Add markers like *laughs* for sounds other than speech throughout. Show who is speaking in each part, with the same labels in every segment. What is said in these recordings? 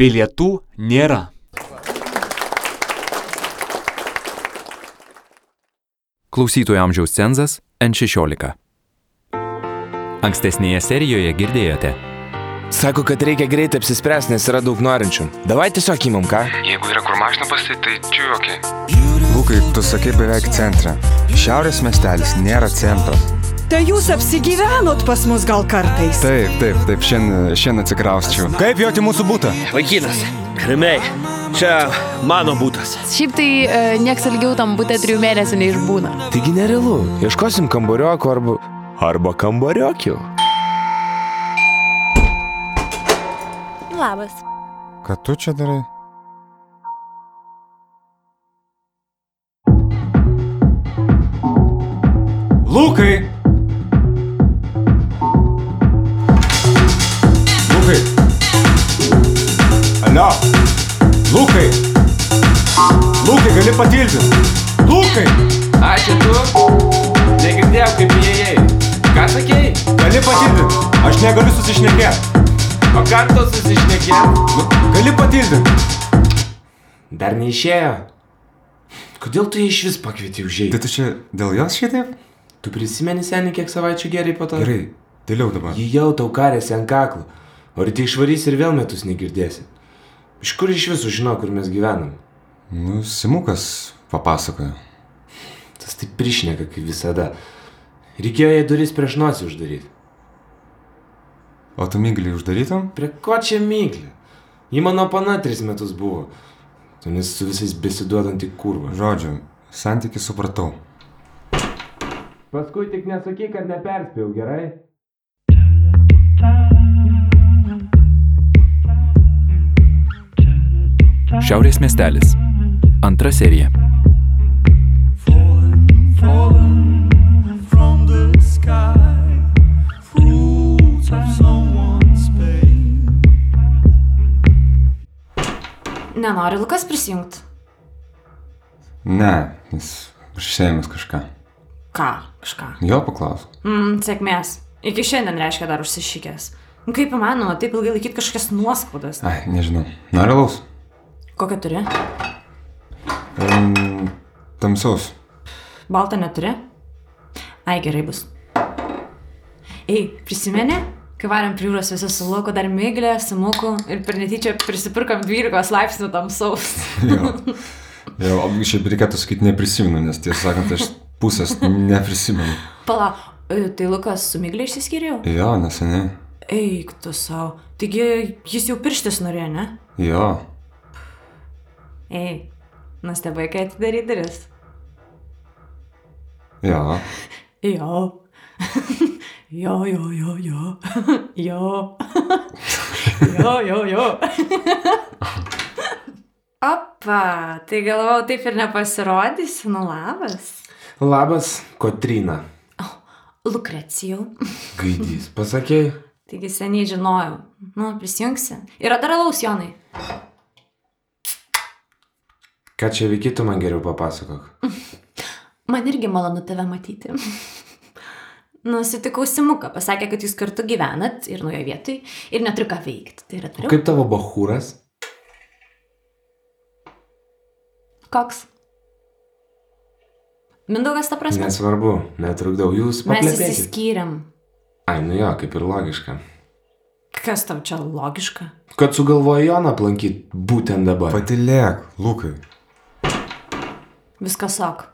Speaker 1: Bilietų nėra.
Speaker 2: Klausytojų amžiaus cenzas N16. Ankstesnėje serijoje girdėjote.
Speaker 3: Sako, kad reikia greitai apsispręsti, nes yra daug norinčių. Davai tiesiog įmam ką?
Speaker 4: Jeigu yra kur mašina pasit, tai čia jokiai.
Speaker 5: Lukai, tu sakai beveik centre. Šiaurės miestelis nėra centras.
Speaker 6: Tai jūs apsigyvenot pas mus gal kartais?
Speaker 5: Taip, taip, taip, šiandien, šiandien atsikrausčiau.
Speaker 7: Kaip jauti mūsų būtą?
Speaker 8: Vaikinas, ramiai. Čia mano būtas.
Speaker 9: Šiaip tai e, nieks ilgiau tam būte trijų mėnesių neišbūna.
Speaker 3: Taigi nerealu. Ieškosim kambariokų arba... Arba kambariokių.
Speaker 10: Labas.
Speaker 5: Ką tu čia darai?
Speaker 7: Lukai! Lukai! Alio! Lukai! Lukai, gali patilti! Lukai!
Speaker 11: Ačiū tu. Negirdėjau, kaip įėjai. Ką sakei?
Speaker 7: Gali patilti! Aš negaliu susišnekėti!
Speaker 11: O kartu susišnekėt.
Speaker 7: Nu, gali patilti!
Speaker 8: Dar neišėjo. Kodėl tu jį iš vis pakvietei
Speaker 5: Tai
Speaker 8: užėjti?
Speaker 5: tu čia dėl jos šitaip?
Speaker 8: Tu prisimeni seniai, kiek savaičių geriai po to?
Speaker 5: Gerai, dėliau dabar.
Speaker 8: Ji jau tau karėsi ant kaklo. O ryte išvarys ir vėl metus negirdėsi. Iš kur iš visų žino, kur mes gyvenam?
Speaker 5: Nu, Simukas papasakojo.
Speaker 8: Tas taip prišneka, kaip visada. Reikėjo jai duris prieš nosį uždaryti.
Speaker 5: O tu mygliai uždarytum?
Speaker 8: Prie ko čia myglė? Ji mano pana tris metus buvo. Tu nes su visais besiduodant į kurvą.
Speaker 5: Žodžiu, santykį supratau.
Speaker 8: Paskui tik nesakyk, kad neperspėjau, gerai?
Speaker 2: Šiaurės miestelis. Antra serija.
Speaker 10: Nenori Lukas prisijungti.
Speaker 5: Ne, jis užsėmęs kažką.
Speaker 10: Ką? Kažką.
Speaker 5: Jo paklaus.
Speaker 10: Mm, sėkmės. Iki šiandien reiškia dar užsišykęs. Nu, Kaip įmanoma taip ilgai laikyti kažkokias nuoskaudas?
Speaker 5: Ai, nežinau. Nori laus?
Speaker 10: Kokią turi?
Speaker 5: Um, tamsaus. *laughs*
Speaker 10: Baltą neturi? Ai, gerai bus. Ei, prisimeni, kai varėm priūros visą su lauko dar myglę, simuku ir per netyčią prisipirkam 12 laipsnių tamsaus. *laughs*
Speaker 5: Jo. Jo, o šiaip reikėtų sakyti neprisimenu, nes tiesą sakant, aš pusės neprisimenu.
Speaker 10: Pala, e, tai Lukas su myglė išsiskyrė? jau?
Speaker 5: Jo, neseniai.
Speaker 10: Eik tu savo. Taigi jis jau pirštis norėjo, ne?
Speaker 5: Jo.
Speaker 10: Ei, nustebai, kai atidaryt duris.
Speaker 5: Jo.
Speaker 10: Jo. jo, jo, jo, jo. jo. jo, jo, *laughs* jo. Opa, tai galvau, taip ir nepasirodysi, nu labas.
Speaker 8: Labas, Kotrina.
Speaker 10: Lukrecijau.
Speaker 8: Gaidys, pasakėjai?
Speaker 10: Taigi seniai žinojau. Nu, prisijungsi. Yra dar alaus, Jonai.
Speaker 8: Ką čia veikitų man geriau papasakok?
Speaker 10: Man irgi malonu tave matyti. *laughs* Nusitikau Simuką, pasakė, kad jūs kartu gyvenat ir nuojo vietoj ir neturiu ką veikti. Tai yra
Speaker 8: O
Speaker 10: turiu.
Speaker 8: kaip tavo bahūras?
Speaker 10: Koks? Mindaugas ta prasme.
Speaker 8: Nesvarbu, netrukdau, jūs
Speaker 10: Mes
Speaker 8: paplepėkit.
Speaker 10: įsiskyrėm.
Speaker 8: Ai, nu jo, kaip ir logiška.
Speaker 10: Kas tau čia logiška?
Speaker 8: Kad sugalvojo Joną aplankyti būtent dabar.
Speaker 5: Patilėk, Lukai.
Speaker 10: Viskas ok.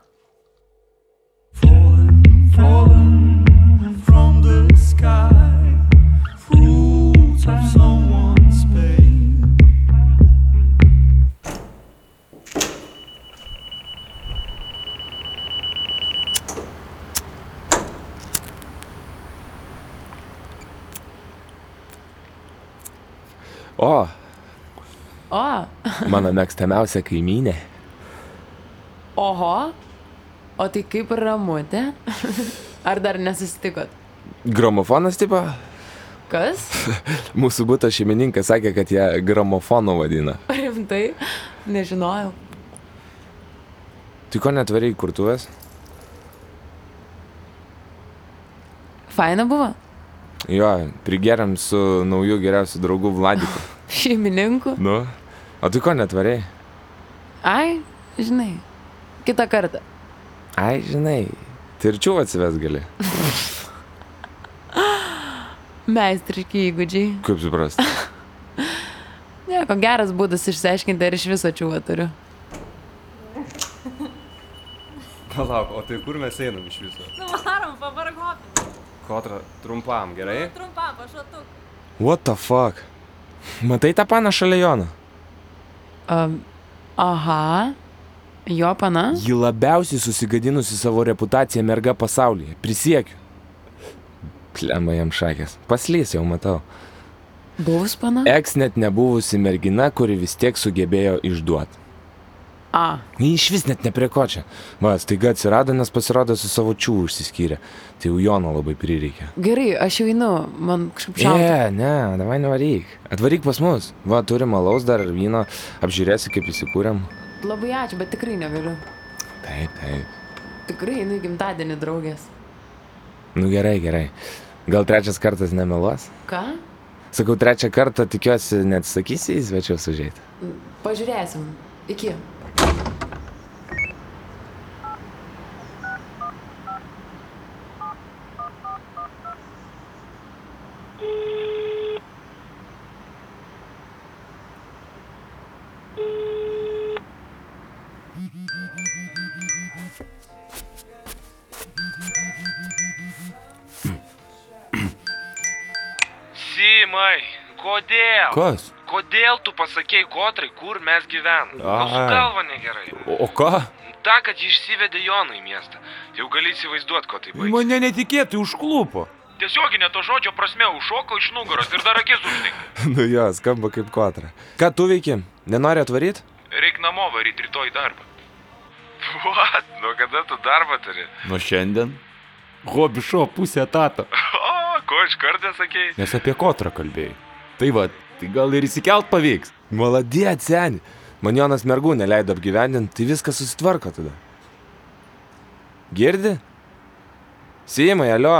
Speaker 3: O,
Speaker 9: O,
Speaker 3: mano mėgstamiausia kaimynė.
Speaker 9: oho. O tai kaip ramutė? Ar dar nesusitikot?
Speaker 3: Gramofonas tipo?
Speaker 9: Kas?
Speaker 3: Mūsų būto šeimininkas sakė, kad ją gramofonu vadina.
Speaker 9: Rimtai? Nežinojau.
Speaker 3: Tu ko netvariai kurtuvės?
Speaker 9: Faina buvo?
Speaker 3: *laughs* Jo, prigeriam su nauju geriausiu draugu Vladiku.
Speaker 9: šeimininkų.
Speaker 8: Nu, o tu ko netvariai?
Speaker 9: Ai, žinai, kitą kartą.
Speaker 8: Ai, žinai, tirčių atsives gali.
Speaker 9: Meistriški įgūdžiai.
Speaker 8: Kaip suprasti?
Speaker 9: Nieko, geras būdas išsiaiškinti, ar iš viso čiūvo turiu.
Speaker 4: Palauk, o tai kur mes einam iš viso?
Speaker 10: Nu, varom, pavargoti.
Speaker 4: Kotra, trumpam, gerai?
Speaker 10: Trumpam, pašatu.
Speaker 8: What the fuck? Matai tą paną šalia Jono?
Speaker 9: Um, aha, jo pana.
Speaker 8: Ji labiausiai susigadinusi savo reputaciją merga pasaulyje. Prisiekiu. Klemba jam šakės. Paslys jau matau.
Speaker 9: Buvus pana?
Speaker 8: Eks net nebuvusi mergina, kuri vis tiek sugebėjo išduoti.
Speaker 9: A.
Speaker 8: Ji iš vis net nepriekočia. Va, staiga atsirado, nes pasirodo su savo čiū užsiskyrė. Tai jau Jono labai prireikė.
Speaker 9: Gerai, aš jau einu, man kažkaip
Speaker 8: Ne,
Speaker 9: šalta.
Speaker 8: yeah, ne, davai nevaryk. Atvaryk pas mus. Va, turim alaus dar ir vyno. Apžiūrėsi, kaip įsikūrėm.
Speaker 9: Yeah. Labai ačiū, bet tikrai negaliu.
Speaker 8: Taip, taip.
Speaker 9: Tikrai einu į gimtadienį draugės.
Speaker 8: Nu gerai, gerai. Gal trečias kartas nemeluos?
Speaker 9: Ką?
Speaker 8: Sakau, trečią kartą tikiuosi, net sakysi, į svečius užėjai.
Speaker 9: Pažiūrėsim. Iki.
Speaker 4: Simai, kodėl?
Speaker 8: Kas?
Speaker 4: Kodėl tu pasakėjai Kotrai, kur mes gyvenam? Gal su
Speaker 8: Ai.
Speaker 4: galva negerai.
Speaker 8: O ką?
Speaker 4: Ta, kad ji išsivedė Joną į miestą. Jau gali įsivaizduoti, ko tai baigė.
Speaker 2: Mane netikėtai užklupo.
Speaker 4: Tiesioginė to žodžio prasme užšoko iš nugaros ir dar akis uždegė.
Speaker 8: *laughs* Nu jo, skamba kaip kotra. Ką tu veiki? Nenori atvaryti?
Speaker 4: Reik namo varyti rytoj į darbą. What? Nuo kada tu darbą turi?
Speaker 2: Nuo šiandien. Hobišo pusė etato.
Speaker 4: O, ko iš karto sakėjai?
Speaker 2: Nes apie kotrą kalbėjai. Tai va, tai gal ir įsikelt pavyks.
Speaker 8: Maladė, seni. Man Jonas mergų neleido apgyvendinti, tai viskas susitvarko tada. Girdi? Sėjimai, alio.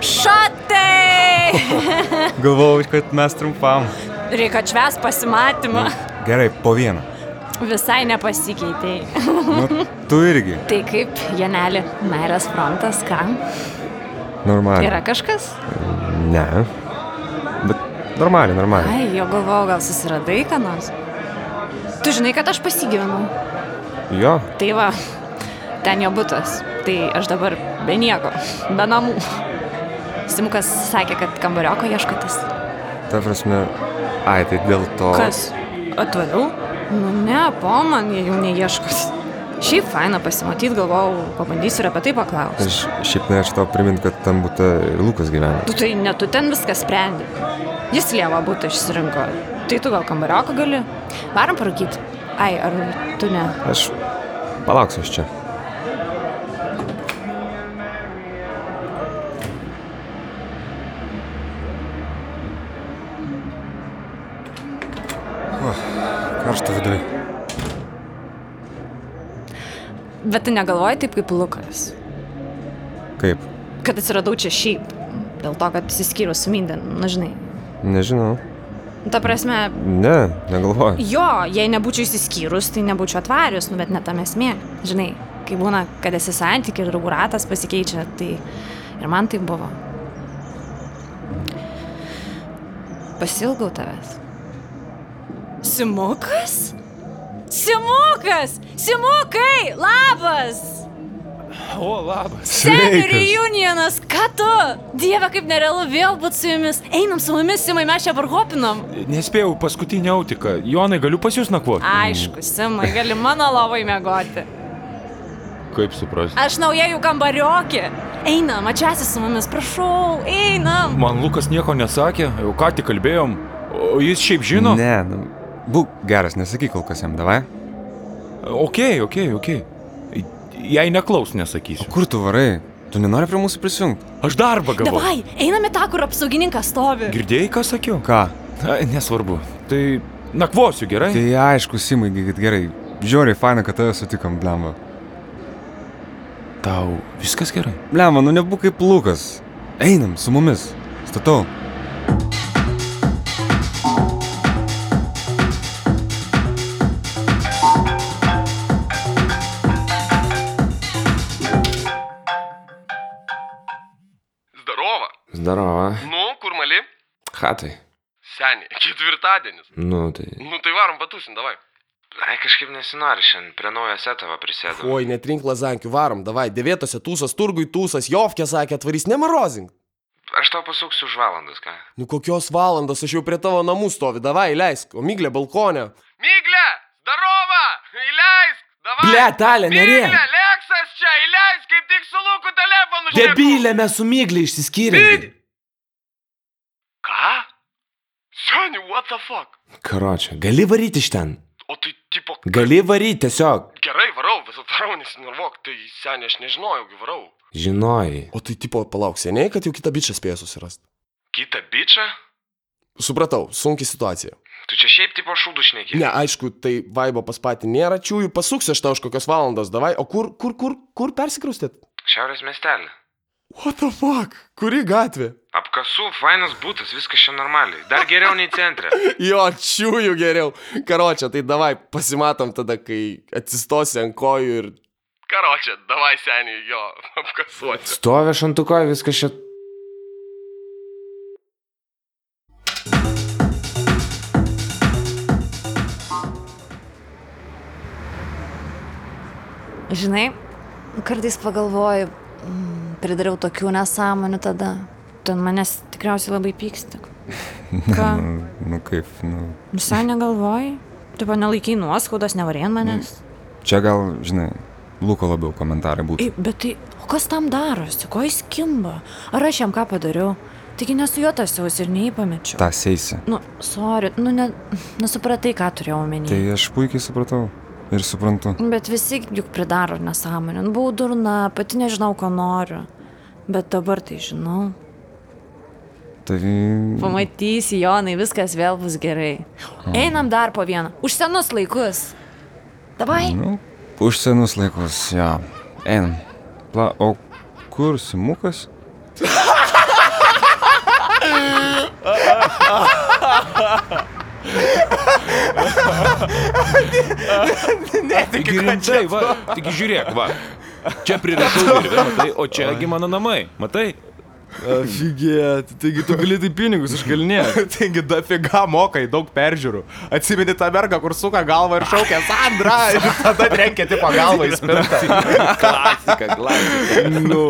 Speaker 10: Šatai! Nu,
Speaker 2: Galvojau, kad mes trumpam.
Speaker 10: Reikia atšves pasimatymą.
Speaker 5: Mm.
Speaker 2: Gerai, po vieną.
Speaker 10: Visai nepasikeitėjai.
Speaker 2: Nu, tu irgi.
Speaker 10: Tai kaip, Janelė, meilės frontas, ką?
Speaker 5: Normaliai.
Speaker 10: Yra kažkas?
Speaker 5: Ne. Bet normaliai, normaliai.
Speaker 10: Ai, jo galvojau, gal susiradai ką nors. Tu žinai, kad aš pasigyvenau.
Speaker 8: Jo,
Speaker 10: Tai va, ten jo būtas. Tai aš dabar be nieko, be namų. Simukas sakė, kad kambarioko ieškotės.
Speaker 5: Ta prasme, ai, tai dėl to.
Speaker 10: Kas? Atvariau? Nu ne, po man jie jau neieškos. Šiaip faina pasimatyti, galvojau, pabandysiu ir apie tai paklausti.
Speaker 5: Aš šiaip norėčiau tau priminti, kad tam būtų Lukas gyvena.
Speaker 10: Tu tai ne tu ten viską sprendi. Jis lievą būtą išsirinko. Tai tu gal kambarioką gali? Varom parūkyti. Ai, ar tu ne?
Speaker 5: Aš palauksiu aš čia.
Speaker 2: Karšta viduje.
Speaker 10: Bet tu negalvoji taip kaip Lukas.
Speaker 5: Kaip?
Speaker 10: Kad atsiradau čia šiaip. Dėl to, kad įsiskyriau su Minden, na žinai.
Speaker 5: Nežinau.
Speaker 10: Ta prasme,
Speaker 5: Ne, negalvoju.
Speaker 10: jo, jei nebūčiau įsiskyrus, tai nebūčiau atvarius, nu bet ne tam esmė. Žinai, kai būna, kad esi santykiai ir draugų ratas pasikeičia, tai ir man tai buvo. Pasilgau tavęs. Simukas? Simukas! Simukai! Labas!
Speaker 2: O, labas.
Speaker 10: Semi reunionas, ką tu? Dieve, kaip nerealu vėl būti su jumis. Einam su mumis, Simai, mes čia varhopinam.
Speaker 2: Nespėjau paskutinį autiką. Jonai, galiu pas jūs nakvoti?
Speaker 10: Aišku, Simai, gali mano lovai mėgoti.
Speaker 2: Kaip suprasti?
Speaker 10: Aš nauja jų kambariokė. Einam, atčiasi su mumis, prašau, einam.
Speaker 2: Man Lukas nieko nesakė, jau ką tik kalbėjom. O jis šiaip žino?
Speaker 5: Ne, nu, būk geras, nesakyk kol kas jam, davai.
Speaker 2: Ok, ok, ok. Jei neklaus, nesakysiu.
Speaker 5: Kur tu varai? Tu nenori prie mūsų prisijungti?
Speaker 2: Aš darbą gavau.
Speaker 10: Davai, einame tą, kur apsaugininkas stovi.
Speaker 2: Girdėjai, ką sakiau?
Speaker 5: Ką?
Speaker 2: Na, nesvarbu. Tai nakvosiu, gerai?
Speaker 5: Tai aišku, Simai, gi- kad gerai. Žiauriai, faina, kad tave sutikom, blemba.
Speaker 2: Tau viskas gerai.
Speaker 5: Blemba, nu nebūk kaip Lukas. Einam su mumis. Statau.
Speaker 12: Zdarova.
Speaker 13: Nu, kur mali?
Speaker 12: Hatai.
Speaker 13: Seniai, ketvirtadienis.
Speaker 12: Nu, tai.
Speaker 13: Nu tai varom patusim, davai.
Speaker 12: Ai, kažkaip nesinori šiandien, prie naujo setavo prisėdau.
Speaker 8: Oi, netrink lazankių, varom, davai, devėtose tūsas, turgui tūsas, jovkė sakė, atvarys, nemarozink.
Speaker 12: Aš tau pasuksiu už valandas, ką?
Speaker 8: Nu kokios valandos, aš jau prie tavo namų stovi, davai, leisk, o myglė balkonė.
Speaker 13: Myglė, darova, įleisk, davai.
Speaker 8: Ble, Dalia, nerėk.
Speaker 13: Myglė, Leksas čia, įleisk, kaip tik su Luku telefonu. šneku.
Speaker 12: Debilė, mes su myglį išsiskyrėme.
Speaker 13: Ką? Seniai, what the fuck?
Speaker 12: Karočią, gali varyti iš ten.
Speaker 13: O tai tipo,
Speaker 12: Gali varyti tiesiog.
Speaker 13: gerai varau, visą varau, nesinervok, tai seniai, aš nežinojau, gi varau.
Speaker 12: Žinojai.
Speaker 8: O tai tipo, palauk, seniai, kad jau kitą bičią spėjo susirasti.
Speaker 13: Kita bičia?
Speaker 8: Supratau, sunki situacija.
Speaker 13: Tu čia šiaip tipo šūdu šneki.
Speaker 8: Ne, aišku, tai vaibo pas patį nėra, čiųjų pasuksiu aš tau už kokios valandos, davai, o kur, kur, kur, kur persikrūstėt?
Speaker 4: Šiaurės miestelį.
Speaker 8: What the fuck? Kuri gatvė? *laughs*
Speaker 4: Apkasų, fainas būtas, viskas čia normaliai. Dar geriau nei centre.
Speaker 8: Jo, čiųjų geriau. Karočią, tai davai, pasimatom tada, kai atsistosi ant kojų ir...
Speaker 13: Karočią, davai seniai,
Speaker 8: *laughs*
Speaker 13: jo, apkasuoti.
Speaker 12: Stovė šantukoje, viskas čia.
Speaker 9: Žinai, kartais pagalvoju, mm, pridariau tokių nesąmonių tada. Tu ant manęs tikriausiai labai
Speaker 2: *laughs*
Speaker 9: pyksti. Ką?
Speaker 5: Nu, nu kaip, nu.
Speaker 10: Visai negalvoji? Tu panelaikiai nuoskaudos, nevarien manęs.
Speaker 5: Čia gal, žinai, Luko labiau komentarai būtų.
Speaker 10: Ei, bet tai, o kas tam darosi, ko jis kimba? Ar aš jam ką padariau? Taigi nesu jo tas jaus ir neįpamečiau.
Speaker 5: Ta seisi.
Speaker 10: Nu, sorry, nu, ne, nesupratai, ką turėjau
Speaker 5: Tai
Speaker 10: omenyje.
Speaker 5: aš puikiai supratau ir suprantu.
Speaker 10: Bet visi juk pridaro nesąmonę. Nu, Buvau durna, pati nežinau, ko noriu. Bet dabar tai žinau.
Speaker 5: Tai...
Speaker 9: Pamatysi, Jonai, viskas vėl bus gerai.
Speaker 5: Mm.
Speaker 9: Einam dar po vieną. Už senus laikus. Dabai.
Speaker 5: Nu, už senus laikus, jo. Einam. Pla, o kur simukas?
Speaker 2: Taigi rimtai, va, taigi žiūrėk, va. Čia prirašau ir vėl, matai, o čiagi mano namai, matai?
Speaker 14: Aфигеть, taigi tu gali tai pinigus iškalinė. *laughs* taigi dafiga mokai, daug peržiūrų. Atsimeni tą mergą, kur suka galvą ir šaukia Sandra *laughs* ir tada trenkia tipo galvą į *laughs* spintą.
Speaker 4: Klasika, klasika.
Speaker 14: nu,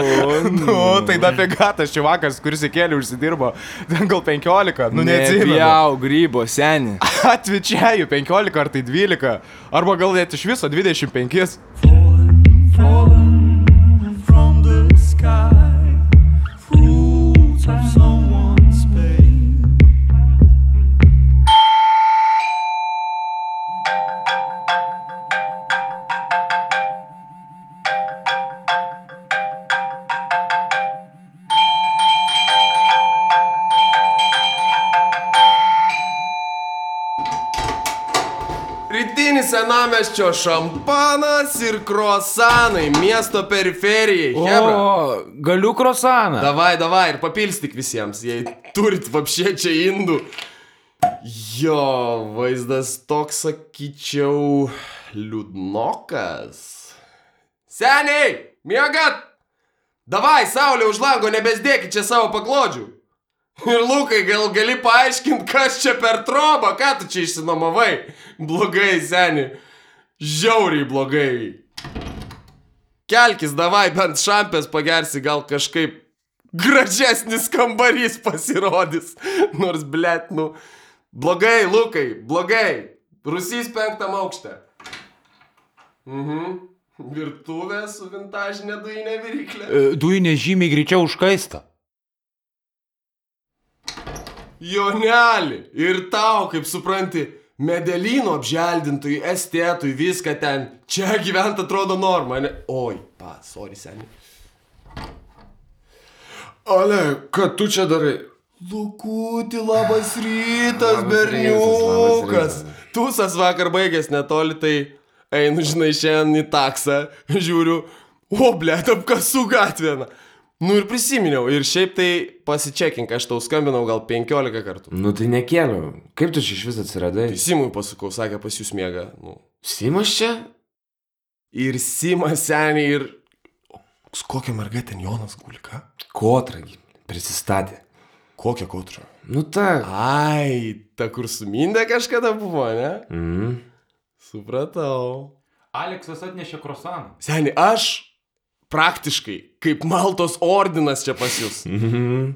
Speaker 14: nu, tai dafiga tas čivakas, kuris įkėlė užsidirbo, ten gal 15, nu neatsimenu. *laughs*
Speaker 4: Jau, grybo, seniai.
Speaker 14: Atvičiaju 15 ar tai 12, arba gal net iš viso 25.
Speaker 8: Rytinis senamesčio šampanas ir krosanai miesto periferijai. Hebra.
Speaker 3: O, galiu krosaną.
Speaker 8: Davai, davai ir papilstik visiems, jei turit vapšė čia indų. Jo, vaizdas toks, sakyčiau, liūdnokas. Seniai, miegat! Davai, saulė už lango, nebesdėkit čia savo paklodžių. Ir Lukai, gal gali paaiškinti, kas čia per trobą, ką tu čia išsinomavai? Blogai, seniai. Žiauriai blogai. Kelkis, davai, bent šampės pagersi, gal kažkaip gražesnis kambarys pasirodys. Nors, blėt, nu. Blogai, Lukai, blogai. Rusys penktam aukšte. Mhm. Virtuvė su vintažinė duinė viryklė.
Speaker 15: Duinė E, žymiai greičiau užkaista.
Speaker 8: Joneli, ir tau, kaip supranti, medelino apželdintui, estetui, viską ten. Čia gyvent atrodo norma, ne? Oi, pats, sorry, seniai. Ale, ką tu čia darai? Lukutį, labas rytas, berniukas. Tūsas vakar baigęs netoli, tai einu, žinai, šiandien į taksą, *laughs* žiūriu, o, ble, apkasų gatvėna. Nu ir prisiminiau, ir šiaip tai pasičiakink, aš tau skambinau gal 15 kartų.
Speaker 12: Nu tai nekėliau. Kaip tu čia iš vis atsiradai?
Speaker 8: Tai Simui pasakau, sakė, pas jūs mėga. Nu.
Speaker 12: Simas čia?
Speaker 8: Ir Simas seniai, ir... Kokia mergaitė ten Jonas Gulika?
Speaker 12: Kotragi. Prisistatė.
Speaker 8: Kokią kautrą?
Speaker 12: Nu ta.
Speaker 8: Ai, ta kur sumindė kažkada buvo, ne?
Speaker 12: Mm.
Speaker 8: Supratau.
Speaker 15: Aleksas atnešė krosaną.
Speaker 8: Seniai, aš praktiškai kaip Maltos ordinas čia pas jūs.
Speaker 12: Mhm.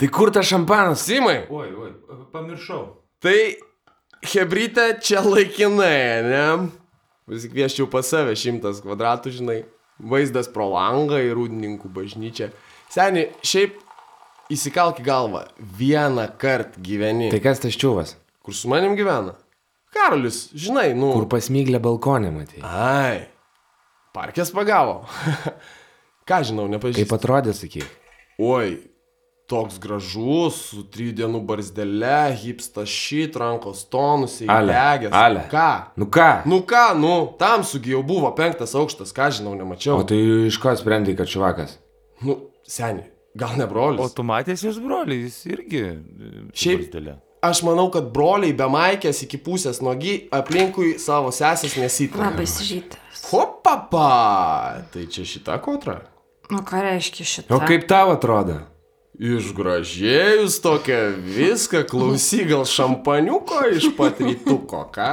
Speaker 12: Tai kur tas šampanas?
Speaker 8: Simai.
Speaker 15: Oi, oi, pamiršau.
Speaker 8: Tai Hebrytė čia laikinai, ne? Pasikvieščiau pas save šimtas kvadratų, žinai. Vaizdas pro langą į rūdininkų bažnyčią. Seniai, šiaip įsikalk į galvą. Vieną kartą gyveni.
Speaker 12: Tai kas tas čiūvas?
Speaker 8: Kur su manim gyvena? Karolis, žinai, nu.
Speaker 12: Kur pasmyglę balkonę matai?
Speaker 8: Ai. Parkės pagavo. *laughs* Ką žinau, nepažįstu.
Speaker 12: Kaip atrodė, sakyk.
Speaker 8: Oi, toks gražus, su trydienų barzdele, hipstas šit, rankos tonus,
Speaker 12: Ale,
Speaker 8: įlegęs.
Speaker 12: ale.
Speaker 8: Ką?
Speaker 12: Nu ką?
Speaker 8: Nu ką, nu, tamsugi jau buvo penktas aukštas, ką žinau, nemačiau.
Speaker 12: O tai iš ko sprendai, kad čuvakas?
Speaker 8: Nu, seniai, gal ne brolis?
Speaker 2: O tu matęs jos brolį, jis irgi.
Speaker 8: Šiaip- Aš manau, kad broliai be maikės iki pusės nogi aplinkui savo sesės nesitiki.
Speaker 9: Labai žyta.
Speaker 8: Hopapa! Tai čia šita kontra.
Speaker 9: Nu, ką reiškia šitą?
Speaker 12: O kaip tau atrodo?
Speaker 8: Išgražėjus tokia viską, klausy gal šampaniuko iš pat rytuko, ką?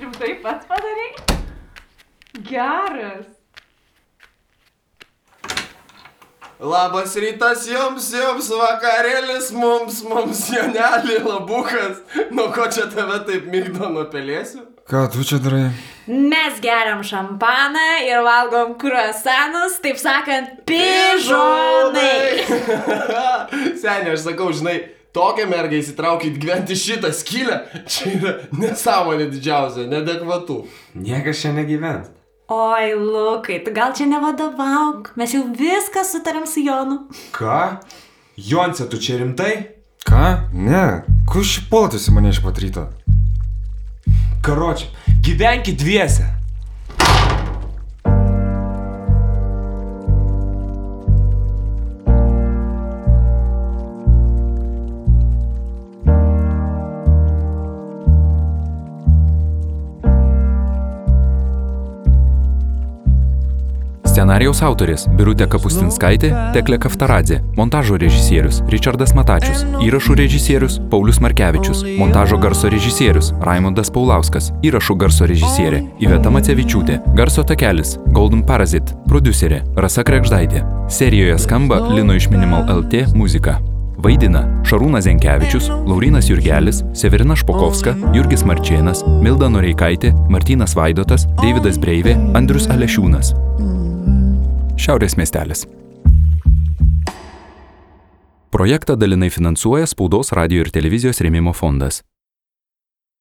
Speaker 10: Rimtai pats padaryk. Geras.
Speaker 8: Labas rytas jums, jums vakarėlis, mums, mums, jonelį, labukas. Nu ko čia tave taip mygdo nupelėsiu?
Speaker 5: Ką tu čia darai?
Speaker 10: Mes geriam šampaną ir valgom kruasanus, taip sakant, pižonai.
Speaker 8: *laughs* Seniai, aš sakau, žinai, tokią mergą įsitraukit gyventi šitą skylę, čia yra nesąmonė didžiausia, nedekvatu.
Speaker 12: Niekas čia negyvent.
Speaker 10: Oi, Lukai, tu gal čia nevadovauk, mes jau viską sutarėm su Jonu.
Speaker 12: Ką? Jonce, tu čia rimtai?
Speaker 5: Ką? Ne, kur šipoltusi mane iš pat ryto?
Speaker 12: Karoči, gyvenkit dviese.
Speaker 16: Scenarijaus autoris - Birutė Kapustinskaitė, Teklė Kaftaradė, montažo režisierius - Richardas Matačius, įrašų režisierius - Paulius Markevičius, montažo garso režisierius - Raimondas Paulauskas, įrašų garso režisierė - Iveta Macevičiūtė, garso takelis - Golden Parasit, producerė - Rasa Krekždaitė. Serijoje skamba Lino iš Minimal LT muzika. Vaidina Šarūnas Zenkevičius, Laurinas Jurgelis, Severina Špokovska, Jurgis Marčėnas, Milda Noreikaitė, Martynas Vaidotas, Davidas Breivė, Andrius Alešiūnas. Šiaurės miestelis. Projektą dalinai finansuoja Spaudos radio ir televizijos rėmimo fondas.